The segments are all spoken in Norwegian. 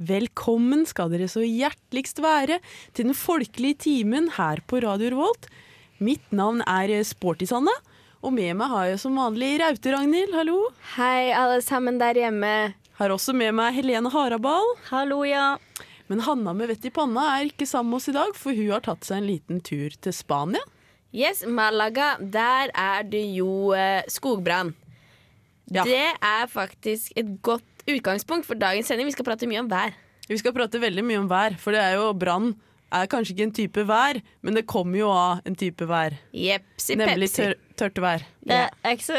Velkommen skal dere så hjerteligst være til den folkelige timen her på Radio Revolt. Mitt navn er Sporty Sanne, og med meg har jeg som vanlig Raute-Ragnhild, hallo. Hei, alle sammen der hjemme. Har også med meg Helene Haraball. Hallo, ja. Men Hanna med vett i panna er ikke sammen med oss i dag, for hun har tatt seg en liten tur til Spania. Yes, Malaga, der er det jo eh, skogbrann. Ja. Det er faktisk et godt utgangspunkt for dagens sending. Vi skal prate mye om vær. Vi skal prate veldig mye om vær, for det er jo brann er kanskje ikke en type vær, men det kommer jo av en type vær. Jepsi Nemlig pepsi. tør tørt vær. Det er ikke så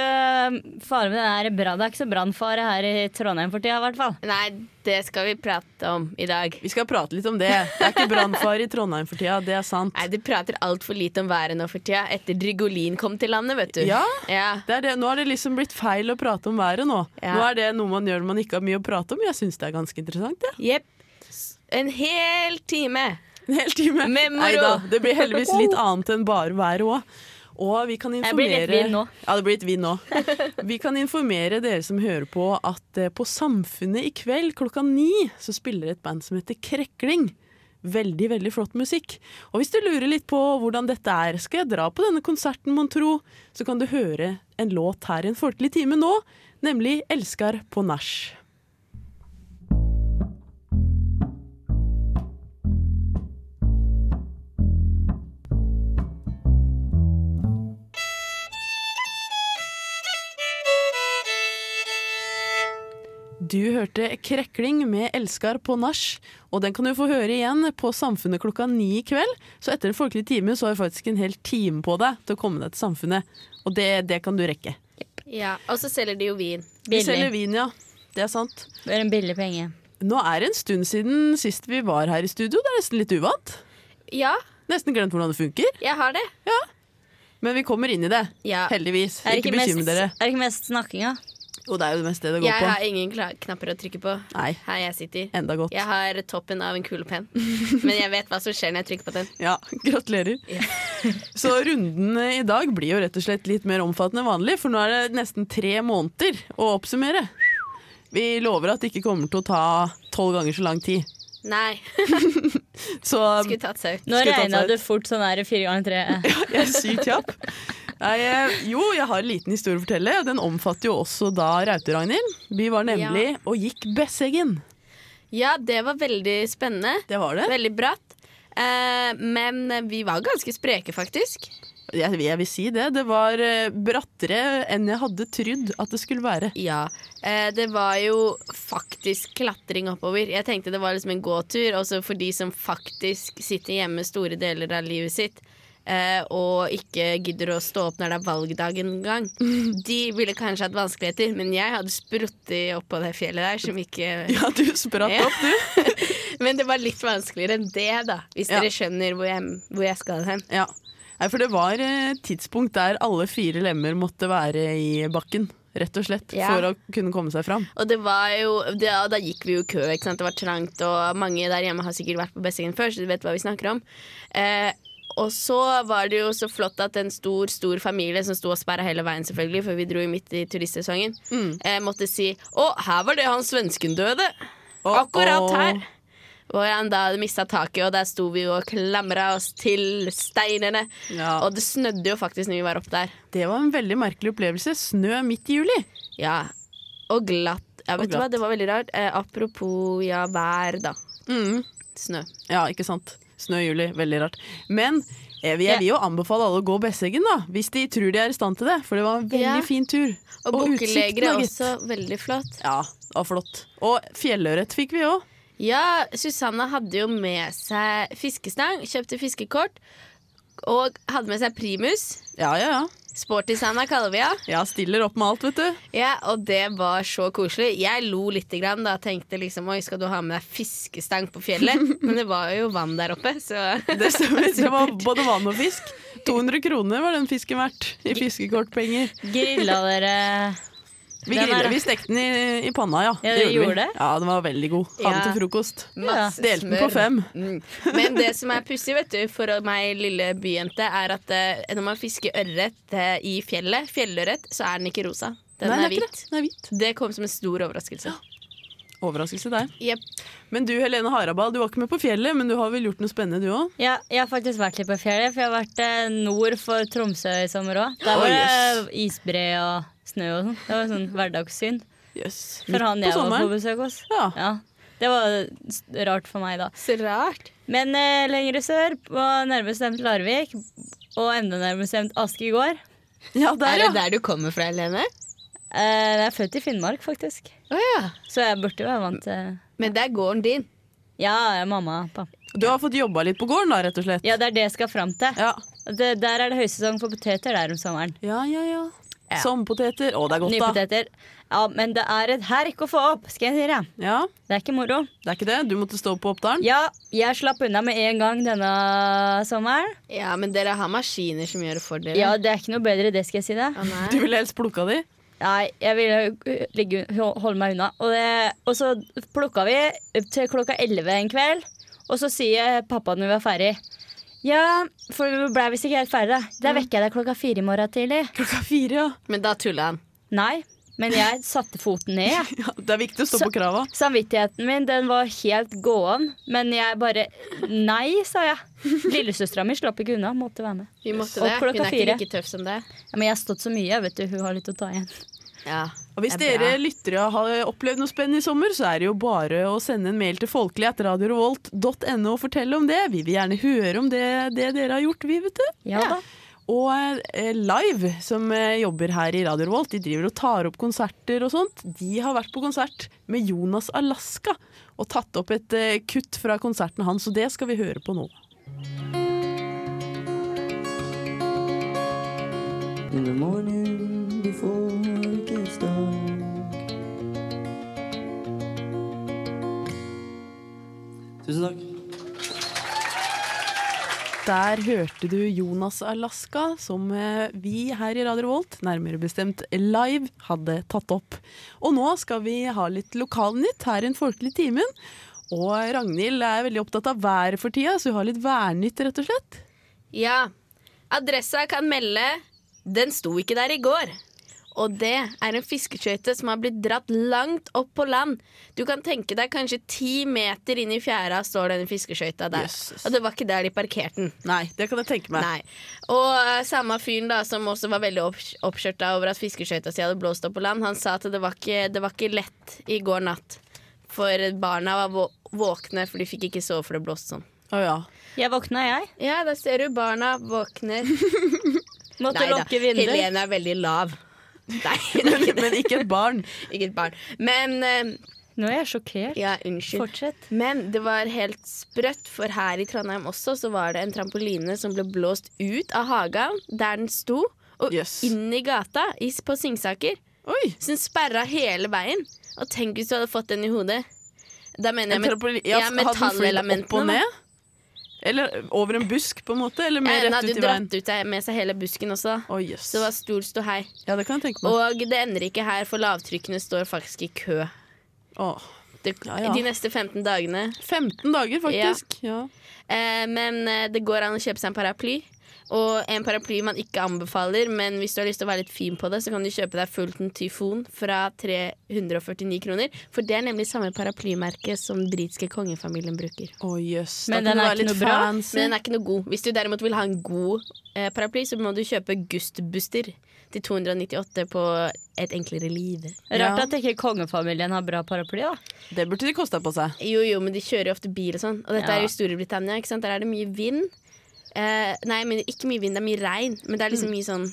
fare med den her bra. Det er ikke så brannfare her i Trondheim for tida, i hvert fall. Nei, det skal vi prate om i dag. Vi skal prate litt om det. Det er ikke brannfare i Trondheim for tida, det er sant. Nei, De prater altfor lite om været nå for tida, etter Drygolin kom til landet, vet du. Ja. ja. Det er det. Nå har det liksom blitt feil å prate om været nå. Ja. Nå er det noe man gjør når man ikke har mye å prate om. Jeg syns det er ganske interessant, jeg. Jepp. En hel time. En hel time. Med moro. Neida, Det blir heldigvis litt annet enn bare været òg. Og vi kan Det informere blir litt vind nå. Ja, det blir litt vind nå. Vi kan informere dere som hører på at eh, på Samfunnet i kveld klokka ni så spiller et band som heter Krekling. Veldig, veldig flott musikk. Og hvis du lurer litt på hvordan dette er, skal jeg dra på denne konserten, mon tro, så kan du høre en låt her i en folkelig time nå, nemlig 'Elskar på nach'. Du hørte Krekling med 'Elskar på nach', og den kan du få høre igjen på Samfunnet klokka ni i kveld. Så etter en folkelig time så har du faktisk en hel time på deg til å komme deg til Samfunnet. Og det, det kan du rekke. Ja, Og så selger de jo vin. Vi selger Billig. vin, ja. Det er sant. Det er en billig penge. Nå er det en stund siden sist vi var her i studio. Det er nesten litt uvant. Ja, Nesten glemt hvordan det funker. jeg har det. Men vi kommer inn i det. Ja. Heldigvis. Er det ikke ikke mest- bekymre dere. Er det ikke mest snakkinga? Jo, det er jo det meste det går Jeg på. har ingen kla- knapper å trykke på Nei. her jeg sitter. Enda godt. Jeg har toppen av en kulepenn, men jeg vet hva som skjer når jeg trykker på den. Ja, gratulerer. Så runden i dag blir jo rett og slett litt mer omfattende enn vanlig, for nå er det nesten tre måneder å oppsummere. Vi lover at det ikke kommer til å ta tolv ganger så lang tid. Nei, Så skulle tatt seg ut. Nå Skal jeg ta regna seg du fort sånn her fire ganger tre. jeg er sykt kjapp. Nei, eh, jo, jeg har en liten historie å fortelle. og Den omfatter jo også da Raute-Ragnhild. Vi var nemlig og gikk Besseggen. Ja, det var veldig spennende. Det var det. Veldig bratt. Eh, men vi var ganske spreke, faktisk. Jeg, jeg vil si det. Det var eh, brattere enn jeg hadde trodd at det skulle være. Ja. Eh, det var jo faktisk klatring oppover. Jeg tenkte det var liksom en gåtur, også for de som faktisk sitter hjemme store deler av livet sitt. eh, Og ikke gidder å stå opp når det er valgdag engang. De ville kanskje hatt vanskeligheter, men jeg hadde spruttet opp på det fjellet der som ikke Ja, du spratt Ja. opp, du. Men det var litt vanskeligere enn det, da. Hvis Ja. dere skjønner hvor jeg, hvor jeg skal hen. Ja. Nei, for det var et tidspunkt der alle fire lemmer måtte være i bakken, rett og slett, Ja. for å kunne komme seg fram. Og det var jo, det, og da gikk vi jo i kø, ikke sant? det var trangt, og mange der hjemme har sikkert vært på Bessingen før, så du vet hva vi snakker om. Eh, og så var det jo så flott at en stor stor familie som sto og sperra hele veien, selvfølgelig, for vi dro jo midt i turistsesongen, eh, måtte si 'Å, her var det han svensken døde'. Å, Akkurat å. her. Hvor han da mista taket, og der sto vi jo og klamra oss til steinene. Ja. Og det snødde jo faktisk når vi var oppe der. Det var en veldig merkelig opplevelse. Snø midt i juli. Ja, og glatt. Ja, vet Og du hva, glatt. det var veldig rart. Eh, apropos ja, vær, da. Snø. Mm. Ja, ikke sant. Snø i juli, veldig rart. Men jeg vil, jeg vil jo anbefale alle å gå Besseggen, da, hvis de tror de er i stand til det. For det var en veldig Ja. fin tur. Og, utsikten, bukkelegere da, gitt. også. Veldig flott. Ja, det var flott. Og fjellørret fikk vi òg. Ja, Susanne hadde jo med seg fiskestang, kjøpte fiskekort. Og hadde med seg primus. Ja, ja, ja. Sporty Sanna kaller vi henne. Jeg stiller opp med alt, vet du. Ja, og det var så koselig. Jeg lo lite grann da. Tenkte liksom oi, skal du ha med deg fiskestang på fjellet? Men det var jo vann der oppe, så Det stemmer. Det var både vann og fisk. 200 kroner var den fisken verdt i fiskekortpenger. Grilla dere Vi, Den er- griller, vi stekte den i, i panna, ja. Ja, dere gjorde vi. det? Ja, den var veldig god. Hadde Ja. den til frokost. Masse Delte den smør. på fem. Mm. Men det som er pussig vet du, for meg lille byjente, er at eh, når man fisker ørret eh, i fjellet, fjellørret, så er den ikke rosa. Den Nei, er det ikke hvit. det. Den er hvit. Det kom som en stor overraskelse. Overraskelse der. Jepp. Men du Helene Harabal, du var ikke med på fjellet, men du har vel gjort noe spennende du òg? Ja, jeg har faktisk vært litt på fjellet, for jeg har vært eh, nord for Tromsø i sommer òg. Der Å, var det jøss. isbre og snø og sånn. Det var sånn hverdagssyn Yes. for han jeg var på besøk hos. Ja. Ja, det var s- rart for meg da. Så rart. Men eh, lengre sør, på nærmest bestemt Larvik, og enda nærmest bestemt Askegård. ja, Er der det ja. der du kommer fra, Helene? Eh, jeg er født i Finnmark, faktisk, Å ja. så jeg burde jo være vant til Men det er gården din. Ja, jeg er mamma og pappa. Du har fått jobba litt på gården da, rett og slett? Ja, det er det jeg skal fram til. Ja, Det, der er det høysesong for poteter der om sommeren. ja, ja. ja. Ja. Sommerpoteter. Å, det er Nye godt, da. poteter. Ja, men det er et herk å få opp, skal jeg si deg. Ja, Det er ikke moro. Det er ikke det? Du måtte stå på Oppdalen? Ja, jeg slapp unna med en gang denne sommeren. Ja, men dere har maskiner som gjør det for dere. Ja, det er ikke noe bedre, det skal jeg si deg. Å, nei. Du ville helst plukka de? Nei, jeg ville uh, ligge, ho- holde meg unna. Og, det, og så plukka vi til klokka elleve en kveld. Og så sier pappa når vi var ferdig Ja, for vi ble visst ikke helt ferdige. Da vekker jeg deg klokka fire i morgen tidlig. Klokka fire, ja. Men da tulla han. Nei, men jeg satte foten ned. jeg. ja. Det er viktig å stå Så- på krava. Samvittigheten min den var helt gåen, men jeg bare Nei, sa jeg. Lillesøstera mi slapp ikke unna, måtte være med. Vi måtte Og det. Hun klokka er ikke fire. like tøff som det. Ja, men jeg har stått så mye, vet du. Hun har litt å ta igjen. Ja. Og hvis Det er dere lyttere har opplevd noe spennende i sommer, så er det jo bare å sende en mail til folkelig.radiorevolt.no og fortelle om det. Vi vil gjerne høre om det, det dere har gjort, vi, vet du. Ja, da. Og eh, Live, som eh, jobber her i Radio Revolt, de driver og tar opp konserter og sånt. De har vært på konsert med Jonas Alaska og tatt opp et eh, kutt fra konserten hans, og det skal vi høre på nå. in the morning before it gets dark. Tusen takk. Der hørte du Jonas Alaska, som eh, vi her i Radio Revolt, nærmere bestemt live, hadde tatt opp. Og nå skal vi ha litt lokalnytt her i den folkelige timen. Og Ragnhild er veldig opptatt av været for tida, så hun har litt værnytt, rett og slett. ja. Adressa kan melde Den sto ikke der i går. Og det er en fiskeskøyte som har blitt dratt langt opp på land. Du kan tenke deg kanskje ti meter inn i fjæra står denne fiskeskøyta der. Jesus. Og det var ikke der de parkerte den. Nei, det kan jeg tenke meg. Nei. Og eh, samme fyren da som også var veldig opps- oppskjørta over at fiskeskøyta si hadde blåst opp på land, han sa at det var ikke, det var ikke lett i går natt. For barna var vå våkne, for de fikk ikke sove, for det blåste sånn. Å ja. Jeg våkna, jeg. Ja, da ser du barna våkner. Måtte Neida, lukke vinduet. Helene er veldig lav. Nei, det er ikke, det. Men ikke et barn. ikke et barn. Men eh, Nå er jeg sjokkert. Ja, unnskyld. Fortsett. Men det var helt sprøtt, for her i Trondheim også så var det en trampoline som ble blåst ut av haga der den sto, og Jøss. inn i gata i, på Singsaker. Oi! Så den sperra hele veien. Og tenk hvis du hadde fått den i hodet. Da mener jeg, En trampolin- met ja, hadde den flydd opp og metallelementene. da. ned? Eller over en busk, på en måte? Eller Ja, mer Den rett hadde ut jo i veien? dratt ut seg- med seg hele busken også. da. Å jøss. Så det var stor ståhei. Ja, det kan jeg tenke meg. Og det ender ikke her, for lavtrykkene står faktisk i kø. Å. Det, Ja, ja. De neste 15 dagene. 15 dager, faktisk. Ja. Eh, men eh, det går an å kjøpe seg en paraply. Og en paraply man ikke anbefaler, men hvis du har lyst til å være litt fin på det, så kan du kjøpe deg Fulton Tyfon fra 349 kroner. For det er nemlig samme paraplymerke som den britiske kongefamilien bruker. Å jøss. Men da den kan du er være ikke litt noe bra. fancy. Men den er ikke noe god. Hvis du derimot vil ha en god eh, paraply, så må du kjøpe Gustbuster til 298 på Et enklere liv. Rart Ja. at ikke kongefamilien har bra paraply, da. Det burde de kosta på seg. Jo, jo, men de kjører jo ofte bil og sånn. Og dette Ja. er jo Storbritannia, ikke sant? Der er det mye vind. Eh, nei, men ikke mye vind, det er mye regn. Men det er liksom mye sånn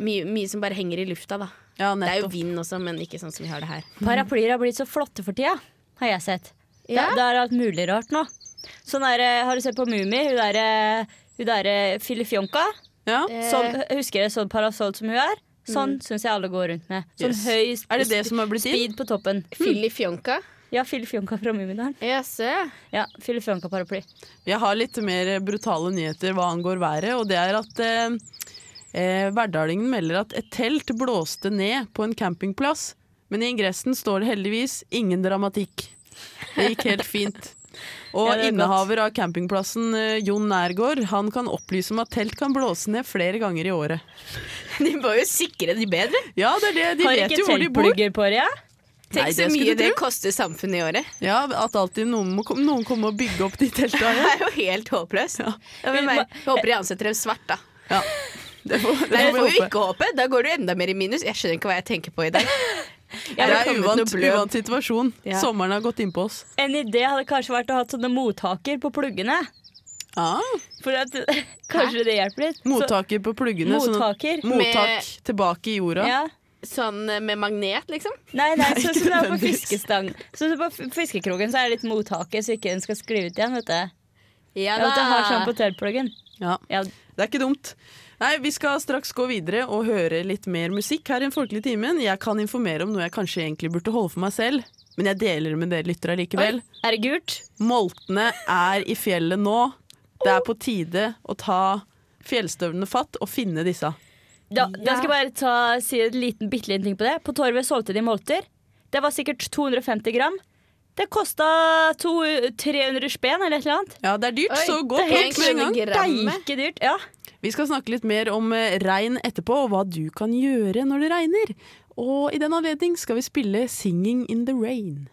mye, mye som bare henger i lufta, da. Ja, Det er jo nettopp. vind også, men ikke sånn som vi har det her. Paraplyer har blitt så flotte for tida, har jeg sett. Ja. Da, da er det alt mulig rart nå. Sånn er, det- har du sett på Mummi? Hun derre der, eh, Filifjonka. Ja. eh, Sånn, Eh, husker jeg sånn parasoll som hun er? Sånn syns jeg alle går rundt med. Sånn Mm. Yes. høy Er det det som har blitt inn? speed på toppen. Filly Fjonka. Ja, Filifjonka fra Mummidalen. Jaså. Ja, Filifjonka-paraply. Jeg har litt mer brutale nyheter hva angår været, og det er at eh, eh, Verdalingen melder at et telt blåste ned på en campingplass, men i ingressen står det heldigvis ingen dramatikk. Det gikk helt fint. Og Ja, det er godt. innehaver av campingplassen eh, Jon Nærgaard han kan opplyse om at telt kan blåse ned flere ganger i året. De må jo sikre de bedre. Ja, det er det. De Har vet ikke jo hvor de bor. teltplugger på det? Ja? Nei, Tenk det så skulle mye du det tro. koster samfunnet i året. Ja, at alltid noen må kom- noen komme og bygge opp de telta Det igjen. er jo helt håpløst. Ja. Ja, men jeg håper de ansetter dem svart, da. Ja. Det får, Nei, det det får får vi jo håpe. ikke håpe. Da går du enda mer i minus. Jeg skjønner ikke hva jeg tenker på i dag. Det det er kommet noe uvant, blød? uvant situasjon. Ja. Sommeren har gått innpå oss. En idé hadde kanskje vært å ha sånne mottaker på pluggene. Ah, For at, kanskje det hjelper litt. Så- mottaker på pluggene. sånn at- Mottaker. Med- mottak tilbake i jorda. Ja. Sånn eh, med magnet, liksom. Nei, nei, Nei, sånn ikke som det er på nødvendigvis. fiskestang. Sånn som på f- fiskekroken så er det litt mottaker, så ikke den skal skli ut igjen, vet du. Ja, Ja vet du, jeg har sånn på tørrpluggen. Ja. Ja, Det er ikke dumt. Nei, Vi skal straks gå videre og høre litt mer musikk her i Den folkelige timen. Jeg kan informere om noe jeg kanskje egentlig burde holde for meg selv, men jeg deler det med dere lyttere likevel. er det gult? Moltene er i fjellet nå. Det er på tide å ta fjellstøvlene fatt og finne disse. Da, da skal jeg bare ta, si en liten, bitte liten ting på det. På Torvet solgte de molter. Det var sikkert 250 gram. Det kosta to- 300 spenn eller et eller annet. Ja, det er dyrt, Oi, så gå det og er plukk med en gang. egentlig Grammet. Deike dyrt. Ja. Vi skal snakke litt mer om eh, regn etterpå, og hva du kan gjøre når det regner. Og i den anledning skal vi spille 'Singing in the Rain'.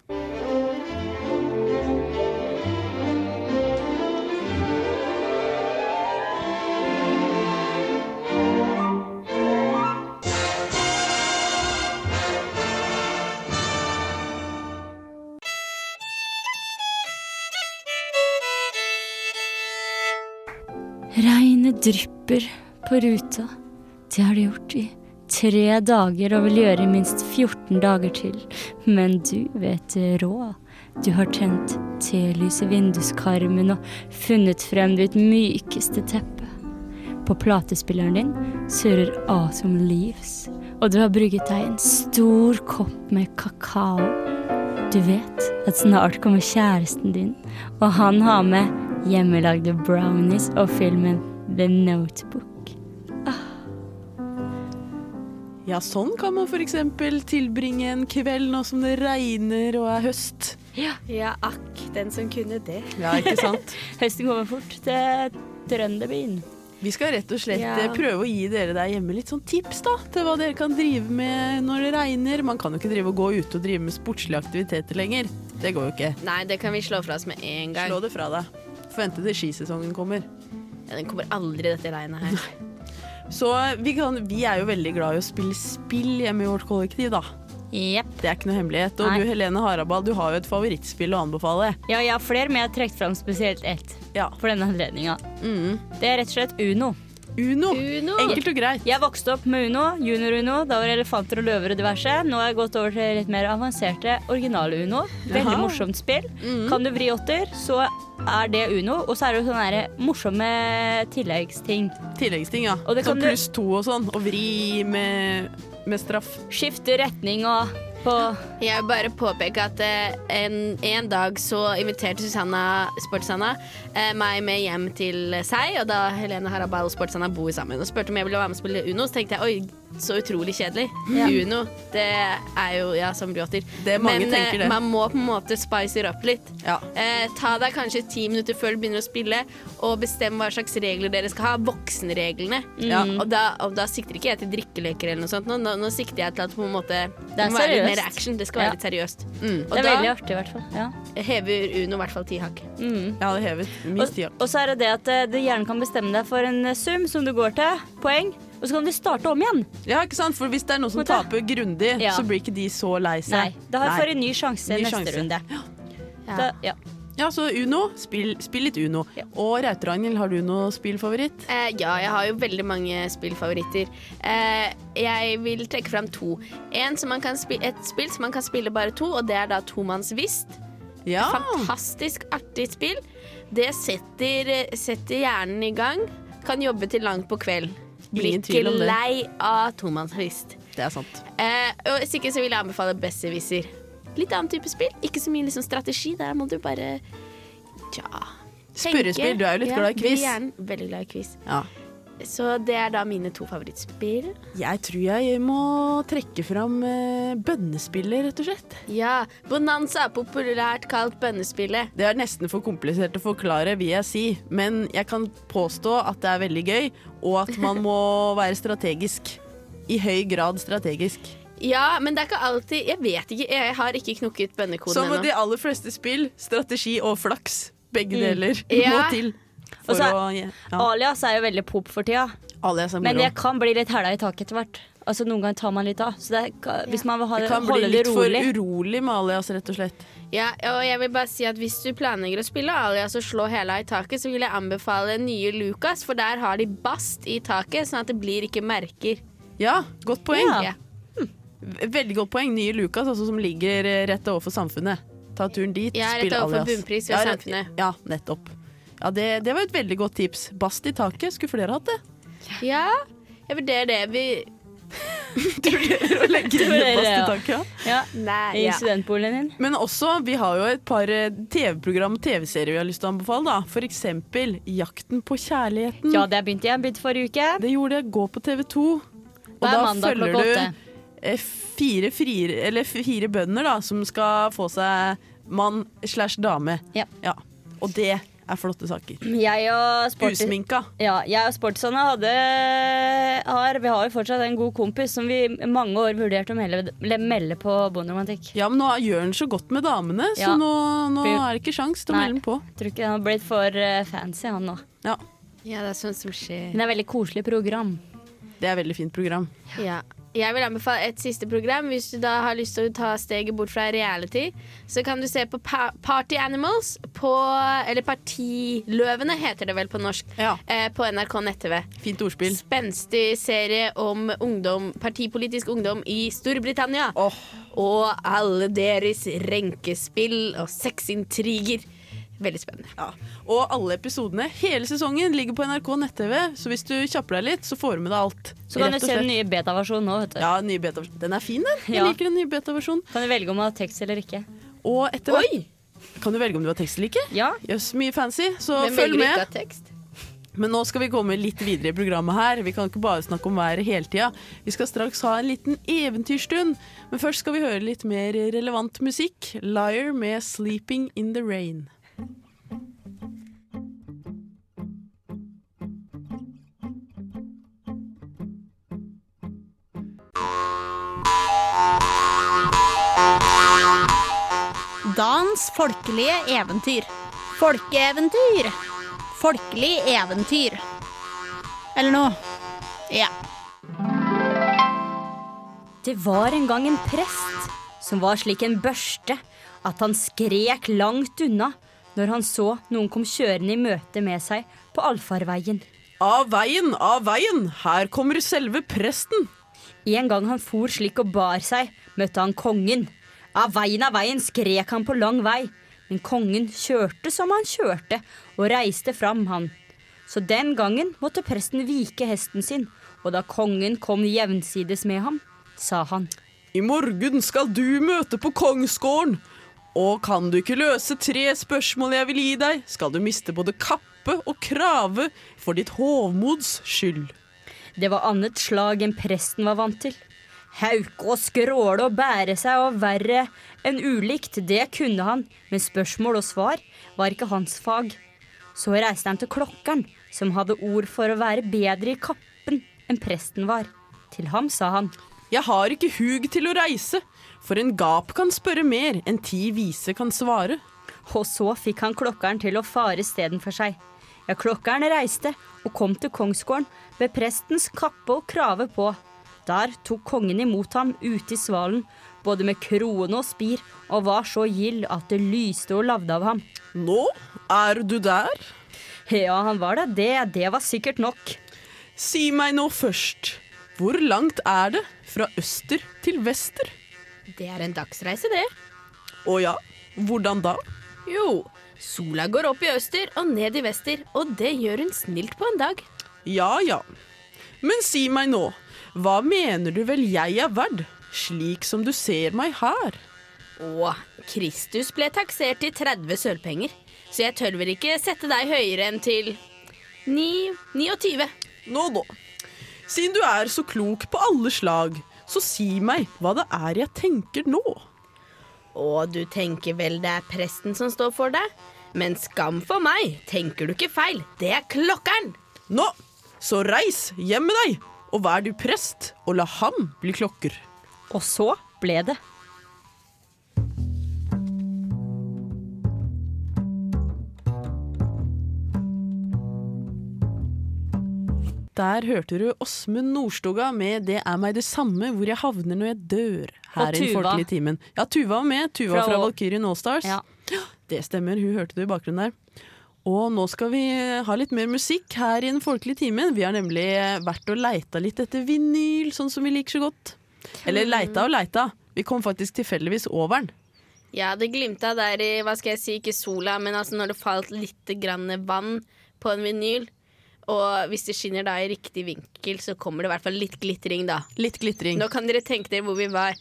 Regnet drypper på ruta. Det har det gjort i tre dager og vil gjøre i minst 14 dager til. Men du vet råd. Du har tent telys i vinduskarmen og funnet frem ditt mykeste teppe. På platespilleren din surrer Awesome Leaves, og du har brygget deg en stor kopp med kakao. Du vet at snart kommer kjæresten din, og han har med hjemmelagde brownies og filmen The Notebook. Ja, sånn kan man f.eks. tilbringe en kveld nå som det regner og er høst. Ja, akk, den som kunne det. Ja, ikke sant? Høsten kommer fort til trønderbyen. Vi skal rett og slett Ja. eh, prøve å gi dere der hjemme litt sånn tips da, til hva dere kan drive med når det regner. Man kan jo ikke drive og gå ute og drive med sportslige aktiviteter lenger. Det går jo ikke. Nei, det kan vi slå fra oss med en gang. Slå det fra deg. Forvente til skisesongen kommer. Ja, den kommer aldri, dette regnet her. Så vi, kan, vi er jo veldig glad i å spille spill hjemme i vårt kollektiv, da. Jepp. Det er ikke noe hemmelighet. Og Nei. du Helene Harabal, du har jo et favorittspill å anbefale. Ja, jeg har flere, men jeg har trukket fram spesielt ett Ja. for denne anledninga. Mm. Det er rett og slett Uno. Uno. Uno! Enkelt og greit. Jeg vokste opp med Uno, junior-Uno, da var det elefanter og løver og diverse. Nå har jeg gått over til litt mer avanserte originale Uno. Veldig Jaha. morsomt spill. Kan du vri åtter, så er det Uno. Og så er det jo sånne her morsomme tilleggsting. Tilleggsting, ja. Og det Sånn kan du- pluss to og sånn. Og vri med, med straff. skifte retning og på Jeg vil bare påpeke at eh, en, en dag så inviterte Susanna Sportsanna eh, meg med hjem til seg, og da Helene Harabal og Sportsanna bor sammen, og spurte om jeg ville være med og spille Uno, så tenkte jeg oi, så utrolig kjedelig. Uno, det er jo ja, som bråter. Det er mange Men eh, tenker det. man må på en måte spice det opp litt. Ja. Eh, ta deg kanskje ti minutter før du begynner å spille, og bestem hva slags regler dere skal ha. Voksenreglene. Ja. Og, da, og da sikter ikke jeg til drikkeleker eller noe sånt. Nå, nå, nå sikter jeg til at på en måte, det, er må være litt seriøst. mer action. Det skal være Ja. litt seriøst. Mm. Og Det er da veldig artig, i hvert fall. Ja. hever Uno i hvert fall ti hakk. Jeg hadde hevet minst Og, ti hakk. og så er det det at eh, du gjerne kan bestemme deg for en eh, sum som du går til, poeng, og så kan du starte om igjen. Ja, ikke sant? For hvis det er noen som Måte. taper grundig, Ja. så blir ikke de så Nei, lei seg. da har jeg Nei. fått en ny sjanse Ny neste sjanse. runde. Ja. Da, ja. Ja, så Uno. Spill, spill litt Uno. Ja. Og Rauter-Ragnhild, har du noe spillfavoritt? Eh, ja, jeg har jo veldig mange spillfavoritter. Eh, jeg vil trekke fram to. En som man kan spi- et spill som man kan spille bare to, og det er da tomannsvist. Ja. Fantastisk artig spill. Det setter, setter hjernen i gang. Kan jobbe til langt på kveld. Blir Ingen ikke tvil om det. lei av tomannsvist. Det er sant. Eh, og hvis ikke så vil jeg anbefale besserwisser. Litt annen type spill. Ikke så mye liksom, strategi. Der må du bare tja tenke. Spørrespill. Du er jo litt Ja, glad i blir quiz. gjerne Veldig glad i quiz. Ja. Så det er da mine to favorittspill. Jeg tror jeg må trekke fram eh, bønnespillet, rett og slett. Ja, Bonanza er populært kalt bønnespillet. Det er nesten for komplisert å forklare, vil jeg si. Men jeg kan påstå at det er veldig gøy, og at man må være strategisk. I høy grad strategisk. Ja, men det er ikke alltid Jeg vet ikke. Jeg har ikke knukket bønnekoden Som ennå. de aller fleste spill, strategi og flaks. Begge Mm. deler må Ja. til. For Og så- å, ja. Alias er jo veldig pop for tida, Alias er men moro. jeg kan bli litt hæla i taket etter hvert. Altså Noen ganger tar man litt av. Så det er, ka- hvis man vil ha Det det, kan bli holde det litt for rolig urolig med alias, rett og slett. Ja, og jeg vil bare si at Hvis du planlegger å spille Alias og slå hæla i taket, så vil jeg anbefale nye Lucas, for der har de bast i taket, sånn at det blir ikke merker. Ja, godt poeng. Ja. Ja. Veldig godt poeng. Nye Lucas, altså, som ligger eh, rett overfor samfunnet. Ta turen dit, Ja, rett spill alias. overfor bunnpris ved rett- samfunnet. Ja, nettopp. Ja, det, det var et veldig godt tips. Bast i taket, skulle flere hatt det? Ja, jeg vurderer det. Vi Å legge inn Vurderer, bast i ja. taket, ja. ja, Nei, i ja. studentboligen din. Men også, vi har jo et par eh, TV-program og TV-serier vi har lyst til å anbefale. da. For eksempel Jakten på kjærligheten. Ja, det begynte jeg begynte forrige uke. Det gjorde jeg. Gå på TV 2. Og Hver da mandag følger klokka du åtte. eh, fire, frier, eller fire bønder da, som skal få seg mann slash dame. Ja. Og det er flotte saker. Jeg og sporty- Usminka. Ja, jeg og Sportsane hadde har, Vi har jo fortsatt en god kompis som vi i mange år vurderte å melde, melde på Bonderomantikk. Ja, men nå gjør han så godt med damene, så Ja. nå, nå Fy- er det ikke sjans til å Nei. melde den på. Jeg Tror ikke han har blitt for eh, fancy, han nå. Ja, ja, det er sånt som skjer. Men det er veldig koselig program. Det er et veldig fint program. Ja. Jeg vil anbefale et siste program. Hvis du da har lyst til å ta steget bort fra reality, så kan du se på pa Party Animals på Eller Partiløvene heter det vel på norsk. Ja. Eh, på NRK nett-TV. Fint ordspill. Spenstig serie om ungdom, partipolitisk ungdom i Storbritannia. Åh, Og alle deres renkespill og sexintriger. Veldig spennende. ja. Og alle episodene, hele sesongen, ligger på NRK nett-TV, så hvis du kjapper deg litt, så får du med deg alt. Så kan Rett du se og slett. den nye beta-versjonen nå. vet du. Ja, ny beta Den er fin, den. Jeg Ja. liker den nye beta-versjonen. Kan du velge om du har tekst eller ikke. Og etter hvert kan du velge om du har tekst eller ikke. Ja, Jøss, mye fancy, så Hvem følg velger med. ikke av tekst? Men nå skal vi komme litt videre i programmet her. Vi kan ikke bare snakke om været hele tida. Vi skal straks ha en liten eventyrstund, men først skal vi høre litt mer relevant musikk. 'Liar' med 'Sleeping in the Rain'. Dans folkelige eventyr. Folkeeventyr. Folkelig eventyr. Eller noe. Ja. Det var en gang en prest som var slik en børste at han skrek langt unna når han så noen kom kjørende i møte med seg på allfarveien. Av veien, av veien! Her kommer selve presten! En gang han for slik og bar seg, møtte han kongen. Av veien av veien skrek han på lang vei, men kongen kjørte som han kjørte, og reiste fram han. Så den gangen måtte presten vike hesten sin, og da kongen kom jevnsides med ham, sa han. I morgen skal du møte på kongsgården. Og kan du ikke løse tre spørsmål jeg vil gi deg, skal du miste både kappe og krave for ditt hovmods skyld. Det var annet slag enn presten var vant til. Hauke og skråle og bære seg og verre enn ulikt, det kunne han, men spørsmål og svar var ikke hans fag. Så reiste han til klokkeren, som hadde ord for å være bedre i kappen enn presten var. Til ham sa han, Jeg har ikke hug til å reise, for en gap kan spørre mer enn ti vise kan svare. og så fikk han klokkeren til å fare istedenfor seg. Ja, klokkeren reiste og kom til kongsgården med prestens kappe og krave på. Der tok kongen imot ham ute i svalen, både med krone og spir, og var så gild at det lyste og lavde av ham. Nå er du der. Ja, han var da det, det var sikkert nok. Si meg nå først, hvor langt er det fra øster til vester? Det er en dagsreise, det. Å ja, hvordan da? Jo, sola går opp i øster og ned i vester, og det gjør hun snilt på en dag. Ja ja. Men si meg nå, hva mener du vel jeg er verd, slik som du ser meg her? Og Kristus ble taksert til 30 sølvpenger, så jeg tør vel ikke sette deg høyere enn til 9, 29. Nå nå. Siden du er så klok på alle slag, så si meg hva det er jeg tenker nå. Og du tenker vel det er presten som står for det? Men skam for meg, tenker du ikke feil, det er klokkeren! Nå, så reis hjem med deg, og vær du prest, og la ham bli klokker. Og så ble det. Der hørte du Åsmund Nordstoga med 'Det er meg det samme hvor jeg havner når jeg dør'. Her Og i den Tuva. folkelige timen. Ja, Tuva var med. Tuva Fra fra Å- Valkyrien Allstars. Ja. Det stemmer, hun hørte det i bakgrunnen der. Og nå skal vi eh, ha litt mer musikk her i den folkelige timen. Vi har nemlig eh, vært og leita litt etter vinyl, sånn som vi liker så godt. Eller Mm. leita og leita. Vi kom faktisk tilfeldigvis over den. Ja, det glimta der i hva skal jeg si, ikke sola, men altså når det falt litt grann vann på en vinyl. Og hvis det skinner da i riktig vinkel, så kommer det i hvert fall litt glitring da. Litt glitring. Nå kan dere tenke dere hvor vi var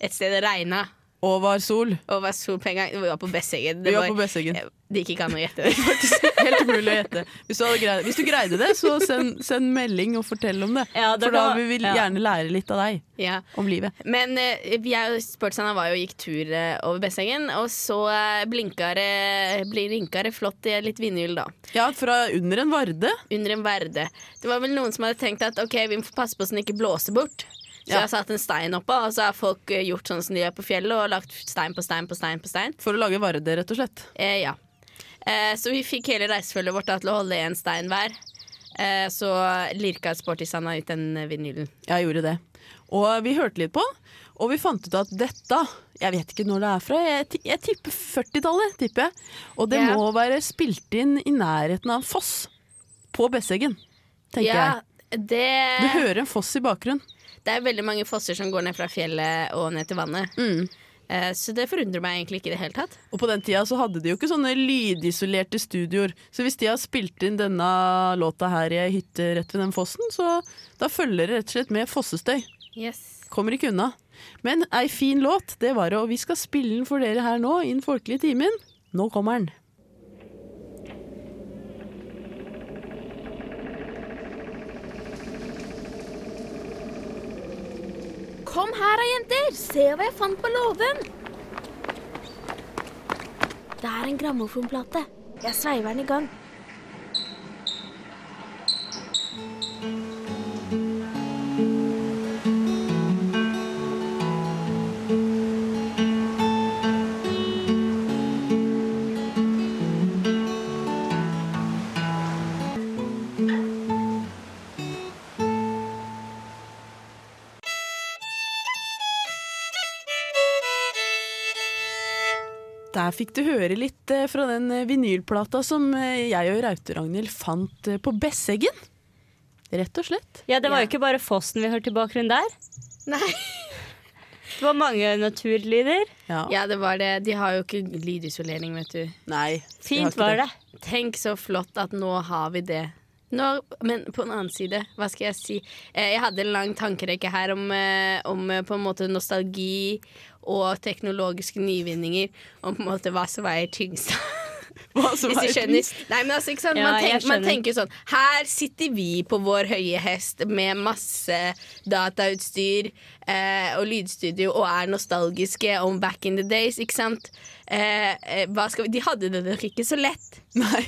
et sted det regna Og var sol. og var sol på en gang. Vi var på Besseggen. Vi var på Besseggen. Det gikk ikke an å gjette det, faktisk. Helt umulig å gjette. Hvis du, hadde greid, hvis du greide det, så send, send melding og fortell om det. Ja, det For da kan- vil vi ja. gjerne lære litt av deg Ja. om livet. Men eh, jeg og sportshandleren var jo og gikk tur eh, over Besseggen, og så eh, blinka det blinka det flott i litt vindhjul, da. Ja, fra under en varde. under en verde. Det var vel noen som hadde tenkt at ok, vi må passe på så den ikke blåser bort. Så Ja. jeg har satt en stein oppå, og så har folk eh, gjort sånn som de gjør på fjellet, og lagt stein på stein på stein på stein. For å lage varde, rett og slett. Eh, ja. Eh, så vi fikk hele reisefølget vårt da, til å holde én stein hver. Eh, så lirka sportissanda ut den eh, vinylen. Jeg gjorde det. Og vi hørte litt på, og vi fant ut at dette Jeg vet ikke når det er fra, jeg, ti- jeg tipper 40-tallet. tipper jeg. Og det Ja. må være spilt inn i nærheten av en foss. På Besseggen, tenker Ja, jeg. Du det, hører en foss i bakgrunnen. det er veldig mange fosser som går ned fra fjellet og ned til vannet. Mm. Eh, så det forundrer meg egentlig ikke i det hele tatt. Og på den tida så hadde de jo ikke sånne lydisolerte studioer. Så hvis de har spilt inn denne låta her i ei hytte rett ved den fossen, så da følger det rett og slett med fossestøy. Kommer ikke unna. Men ei fin låt, det var det, og vi skal spille den for dere her nå, i den folkelige timen. Nå kommer den. Kom her da, jenter. Se hva jeg fant på låven. Det er en grammofonplate. Jeg sveiver den i gang. Der fikk du høre litt eh, fra den eh, vinylplata som eh, jeg og Rauter-Ragnhild fant eh, på Besseggen. Rett og slett. Ja, det var jo ikke bare fossen vi hørte i bakgrunnen der. Nei. Det var mange naturlyder. Ja. Ja, det var det. De har jo ikke lydisolering, vet du. Nei. vi har Fint ikke var det. Tenk så flott at nå har vi det. Nå, men på en annen side, hva skal jeg si? Eh, Jeg hadde en lang tankerekke her om, eh, om eh, på en måte nostalgi og teknologiske nyvinninger. Om på en måte hva som veier tyngst. Hva som Hvis du er- skjønner. Nei, men altså, ikke sant? Ja, Man, jeg tenker, man skjønner. tenker sånn Her sitter vi på vår høye hest med masse datautstyr eh, og lydstudio og er nostalgiske om back in the days, ikke sant? Eh, eh, hva skal vi? De hadde det nok ikke så lett. Nei,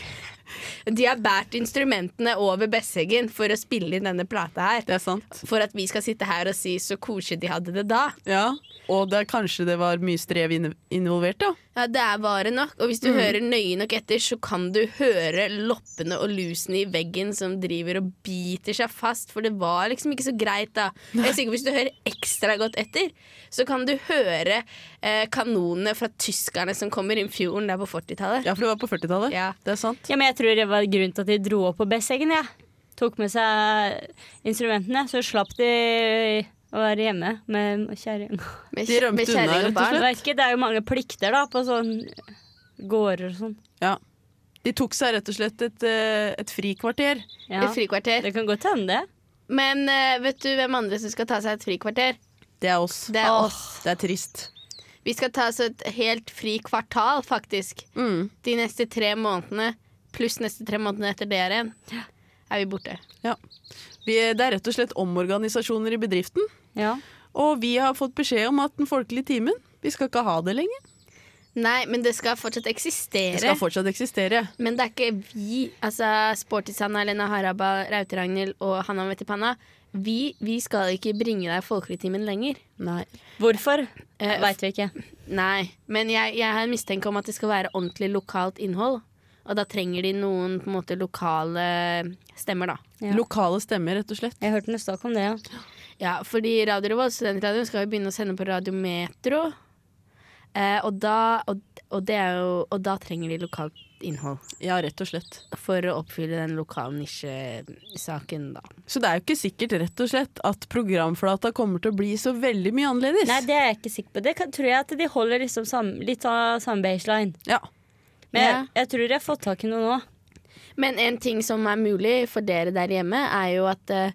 De har båret instrumentene over Besseggen for å spille inn denne plata her. det er sant. For at vi skal sitte her og si så koselig de hadde det da. Ja, og det, er kanskje det var mye strev inne- involvert, ja. Ja, Det er vare nok, og hvis du Mm. hører nøye nok etter, så kan du høre loppene og lusene i veggen som driver og biter seg fast, for det var liksom ikke så greit da. Og Jeg er sikker på Hvis du hører ekstra godt etter, så kan du høre eh, kanonene fra tyskerne som kommer inn fjorden der på 40-tallet. Ja, for det var på 40-tallet. Ja. Det er sant. Ja, men jeg tror det var grunnen til at de dro opp på Besseggen. Ja. Tok med seg instrumentene, så slapp de å være hjemme med kjerringa. Med, De rømte med kjerring unna, og rett og barn. Det, er ikke- det er jo mange plikter da, på sånn gårder og sånn. Ja. De tok seg rett og slett et, eh, et frikvarter. Ja. Et frikvarter. Det kan godt hende, det. Men eh, vet du hvem andre som skal ta seg et frikvarter? Det er oss. Det er Åh, oss. Det er trist. Vi skal ta oss et helt fri kvartal, faktisk. De neste tre månedene, pluss neste tre månedene etter det igjen, er vi borte. Ja. Vi, det er rett og slett omorganisasjoner i bedriften. Ja. Og vi har fått beskjed om at den folkelige timen, vi skal ikke ha det lenger. Nei, men det skal fortsatt Det eksistere. skal fortsatt eksistere. men det er ikke vi, altså Sportis-Hanna, Lena Haraba, Rauter-Ragnhild og Hanna Vettipanna. vi, vi skal ikke bringe deg folkeligtimen lenger. Nei. Hvorfor? Eh, Veit vi ikke. Nei, men jeg, jeg har en mistenke om at det skal være ordentlig lokalt innhold. Og da trenger de noen på en måte lokale stemmer, da. Ja. Lokale stemmer, rett og slett. Jeg hørte noe snakk om det, ja. Ja, fordi Radio Revolt, studentradioen, skal jo begynne å sende på Radio Metro. Eh, og, da, og, og, det er jo, og da trenger de lokalt innhold Ja, rett og slett. for å oppfylle den lokale nisjesaken, da. Så det er jo ikke sikkert rett og slett at programflata kommer til å bli så veldig mye annerledes. Nei, det er jeg ikke sikker på. Det kan, tror jeg at de holder liksom sam, litt av samme baseline. Ja. Men Ja. jeg, jeg tror jeg har fått tak i noe nå. Men en ting som er mulig for dere der hjemme, er jo at eh,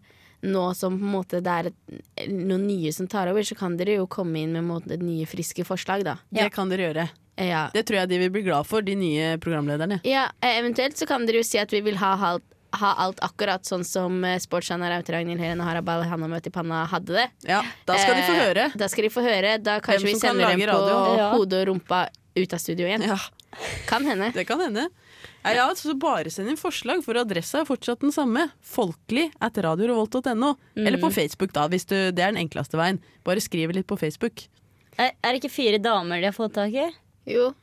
nå som på en måte det er et- noen nye som tar over, så kan dere jo komme inn med på en måte, nye, friske forslag, da. Det kan dere gjøre. Eh, Ja. Det tror jeg de vil bli glad for, de nye programlederne. ja, eh, eventuelt så kan dere jo si at vi vil ha alt, ha alt akkurat sånn som eh, sportsanalytiker Ragnhild Helen og Harabal Hanna Møtippanna hadde det. Ja, Da skal de få Eh, høre. Da skal de få høre. Da kanskje Hvem vi som kan sender dem lage på radio. Ja. hodet og rumpa ut av studio igjen. Ja, Kan hende. Det kan hende. Nei, Ja, så bare send inn forslag, for adressa er fortsatt den samme. Folkelig at radiorevolt.no. Eller Mm. på Facebook, da, hvis du, det er den enkleste veien. Bare skriv litt på Facebook. Er, er det ikke fire damer de har fått tak i? Jo,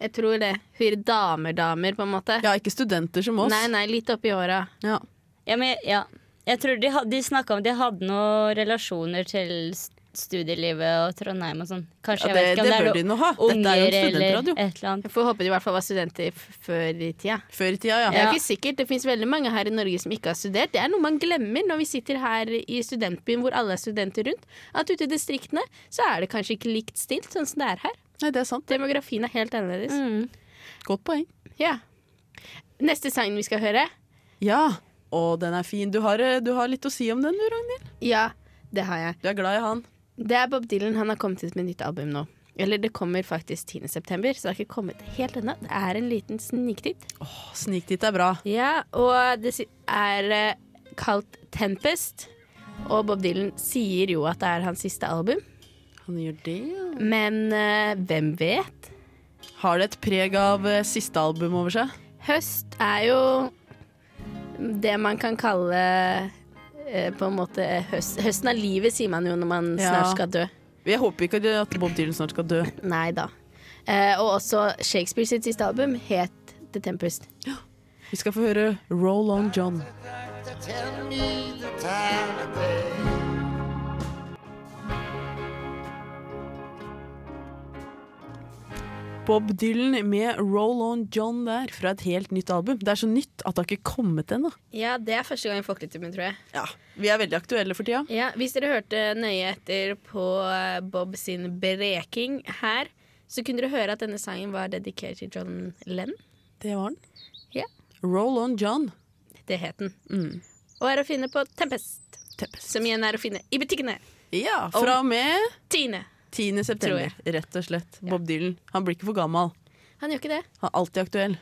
jeg tror det. Fire damer-damer, på en måte. Ja, ikke studenter som oss. Nei, nei, litt oppi åra. Ja. Ja, men, ja. Jeg tror de, had- de snakka om de hadde noen relasjoner til s- studielivet og Trondheim og sånn. Kanskje, jeg Ja, det, vet ikke om det det er bør noe de nå ha. Dette er jo unger en eller studentradio. et eller annet. Jeg får håpe de i hvert fall var studenter f- før i tida. Før i tida, ja. Det er ikke sikkert, det finnes veldig mange her i Norge som ikke har studert. Det er noe man glemmer når vi sitter her i studentbyen hvor alle er studenter rundt. At ute i distriktene så er det kanskje ikke likt stilt sånn som det er her. Nei, det er sant. Demografien er helt annerledes. Mm. Godt poeng. Ja. Neste sangen vi skal høre, Ja, og den er fin. Du har, eh, du har litt å si om den, du, Ragnhild. ja, det har jeg. Du er glad i han. Det er Bob Dylan. Han har kommet ut med nytt album nå. Eller det kommer faktisk 10. september, så det har ikke kommet helt ennå. Det er en liten sniktitt. Å, Sniktitt er bra. Ja, og det si- er eh, kalt Tempest. Og Bob Dylan sier jo at det er hans siste album, Han gjør det, ja. men eh, hvem vet? Har det et preg av eh, siste album over seg? Høst er jo det man kan kalle eh, på en måte høst, Høsten av livet, sier man jo når man Ja. snart skal dø. Jeg håper ikke at Bob Dylan snart skal dø. Nei da. Eh, og også Shakespeare sitt siste album het The Tempest. Vi skal få høre Roll On John. Bob Dylan med Roll On John der, fra et helt nytt album. Det er så nytt at det har ikke kommet ennå. Ja, det er første gang i folketimen, tror jeg. Ja, vi er veldig aktuelle for tida. Ja, Hvis dere hørte nøye etter på eh, Bob sin breking her, så kunne dere høre at denne sangen var dedikert til John Lennon. Det var den. Ja. Mm. Roll on John. Det het den. Og er å finne på Tempest, Tempest. som igjen er å finne i butikkene. Ja, fra og med Tine. 10. september, rett og slett. Bob Dylan. Han blir ikke for gammel. Han gjør ikke det. Han er alltid aktuell.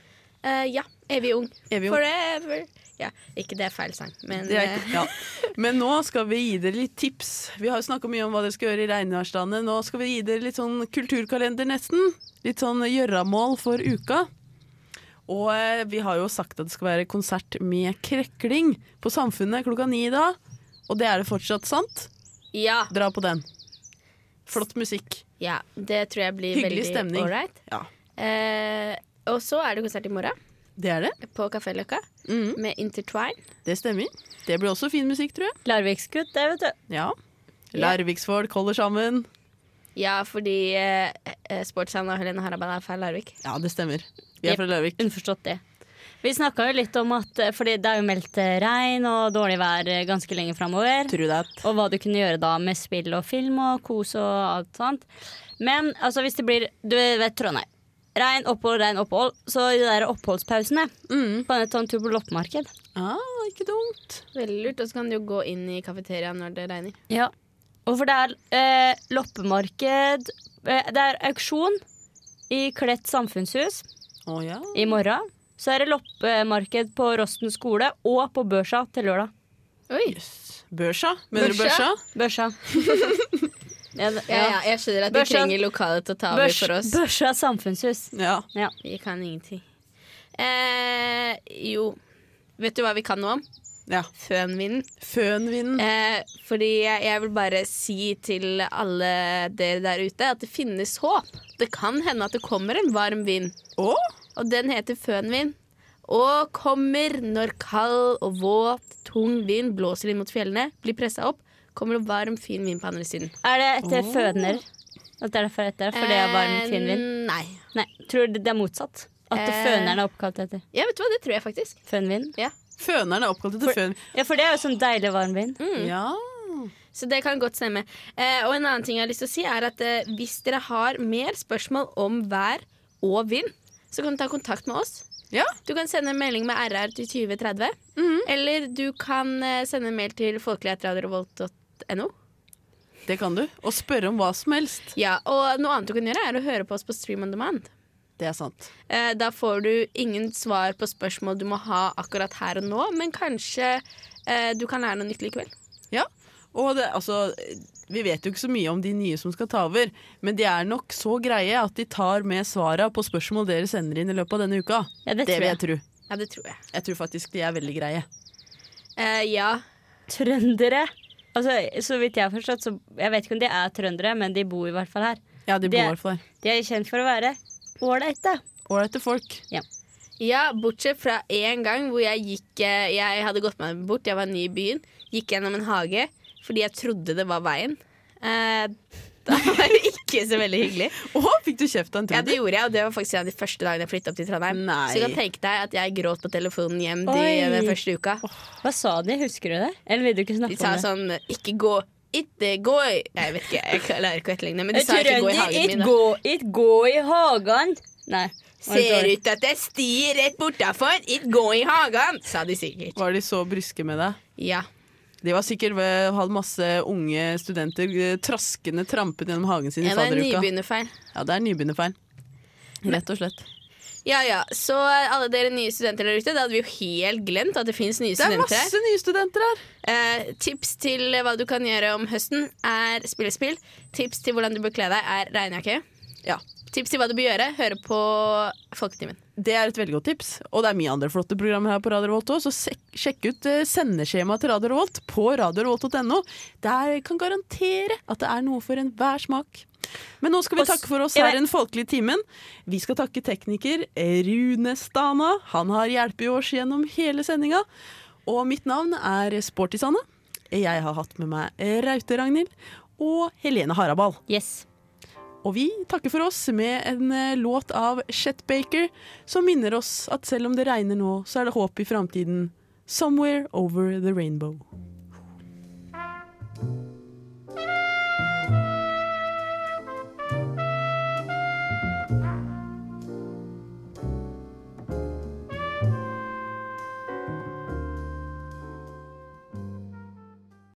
Eh, ja. Evig ung. Evig ung. Forever. Ja, ikke det er feil sang, men Det er eh, ikke, ja. Men nå skal vi gi dere litt tips. Vi har jo snakka mye om hva dere skal gjøre i regnværsdagene. Nå skal vi gi dere litt sånn kulturkalender, nesten. Litt sånn gjøramål for uka. Og eh, vi har jo sagt at det skal være konsert med krekling på Samfunnet klokka ni i dag. Og det er det fortsatt, sant? ja, Dra på den. Flott musikk. ja. Det tror jeg blir Hyggelig veldig stemning. ålreit. Ja, Eh, og så er det konsert i morgen det er det. på Kafé Løkka Mhm. med Intertwine. Det stemmer. Det blir også fin musikk, tror jeg. Larviksgutt, det, vet du. Ja. Larviksfolk holder sammen. Ja, fordi eh, eh, sportshandler Helene Harabal er fra Larvik. Ja, det stemmer. Vi er Jep. fra Larvik. Underforstått det. Vi snakka jo litt om at eh, Fordi det er jo meldt eh, regn og dårlig vær eh, ganske lenge framover. True that. Og hva du kunne gjøre da med spill og film og kos og alt sånt. Men altså, hvis det blir Du vet Trondheim. Regn, opphold, regn, opphold. Så de der oppholdspausene Mm. Kan jeg ta en sånn tur på loppemarked? Ah, ikke dumt. Veldig lurt. Og så kan du jo gå inn i kafeteriaen når det regner. Ja. Og for det er eh, loppemarked eh, Det er auksjon i Klett samfunnshus Å ja. i morgen. Så er det loppemarked på Rosten skole og på Børsa til lørdag. Oi. Børsa? Mener du børsa? Børsa? Børsa. ja, det- Ja, ja, jeg skjønner at de Børsa- trenger lokalet til å ta over Børs, for oss. børsa samfunnshus. Ja. Vi kan ingenting. Eh, jo, vet du hva vi kan noe om? Ja. Fønvinden. Fønvinden. Eh, fordi jeg, jeg vil bare si til alle dere der ute at det finnes håp. Det kan hende at det kommer en varm vind, Å, og den heter fønvind. Og kommer når kald og våt, tung vind blåser inn mot fjellene, blir pressa opp, kommer det varm, fin vind på andre siden. Er det etter føner? At det er derfor det heter det? For det er varm, Eh, fin vind? Nei. Nei, tror du det er motsatt? At Eh. føneren er oppkalt etter Ja, vet du hva, det tror jeg faktisk. fønvind? Føneren er oppkalt etter føn... Ja, for det er jo sånn deilig varm vind. Ja. Så det kan godt stemme. Eh, og en annen ting jeg har lyst til å si er at eh, hvis dere har mer spørsmål om vær og vind, så kan du ta kontakt med oss. Ja. Du kan sende en melding med RR til 2030. Eller du kan eh, sende en mail til folkelighetradiorevolt.no. Det kan du. Og spørre om hva som helst. Ja, og noe annet du kan gjøre, er å høre på oss på Stream on Demand. Det er sant. Eh, Da får du ingen svar på spørsmål du må ha akkurat her og nå, men kanskje eh, du kan lære noe nytt likevel. Ja. Og det, altså, vi vet jo ikke så mye om de nye som skal ta over, men de er nok så greie at de tar med svara på spørsmål dere sender inn i løpet av denne uka. Ja, det Det tror vil jeg jeg. tro. Ja, det tror jeg. Jeg tror faktisk de er veldig greie. Eh, ja. Trøndere. Altså, så vidt jeg har forstått, så jeg vet ikke om de er trøndere, men de bor i hvert fall her. Ja, de Det- bor i hvert fall her. De er kjent for å være ålreite. Ålreite folk. Ja, bortsett fra én gang hvor jeg gikk eh, Jeg hadde gått meg bort, jeg var ny i byen. Gikk gjennom en hage fordi jeg trodde det var veien. Eh, da var det ikke så veldig hyggelig. Å, fikk du kjeft av en Ja, det trønder? gjorde jeg, og det var faktisk en av de første dagene jeg flytta opp til Trondheim. Nei. Så du kan tenke deg at jeg gråt på telefonen hjem de, Oi. den første uka. Hva sa de? Husker du det? Eller vil du ikke De snakke sa om det? sånn 'ikke gå, ikke gå i Nei, Jeg vet ikke, jeg klarer ikke å etterligne, men de sa 'ikke gå i Trønder, hagen it min'. da. gå, it gå i hagen. Nei. var det Ser dårlig? ut at det er sti rett bortafor, ikke gå i hagen, sa de sikkert. Var de så bryske med deg? Ja. De var sikkert ved, hadde masse unge studenter eh, traskende trampet gjennom hagen sin i Ja, det er en fadderuka. nybegynnerfeil. Ja, det er nybegynnerfeil. Rett og slett. Ja, ja. Så alle dere nye studenter der ute, det hadde vi jo helt glemt at det fins nye Det er studenter. her. masse nye studenter her! Eh, tips til hva du kan gjøre om høsten, er spillespill. Tips til hvordan du bør kle deg, er regnjakke. Ja. Tips til hva du bør gjøre, høre på Folketimen. Det er et veldig godt tips. Og det er mye andre flotte programmer her på Radio Revolt også, så sjek- sjekk ut eh, sendeskjemaet til Radio Revolt på radiorevolt.no. Der kan garantere at det er noe for enhver smak. Men nå skal vi Og s- takke for oss jeg her i vet- den folkelige timen. Vi skal takke tekniker eh, Rune Stana. Han har hjulpet oss gjennom hele sendinga. Og mitt navn er Sporty-Sanne. Jeg har hatt med meg Raute-Ragnhild og Helene Harabal. Yes. Og vi takker for oss med en eh, låt av Chet Baker, som minner oss at selv om det regner nå, så er det håp i framtiden. Somewhere over the rainbow.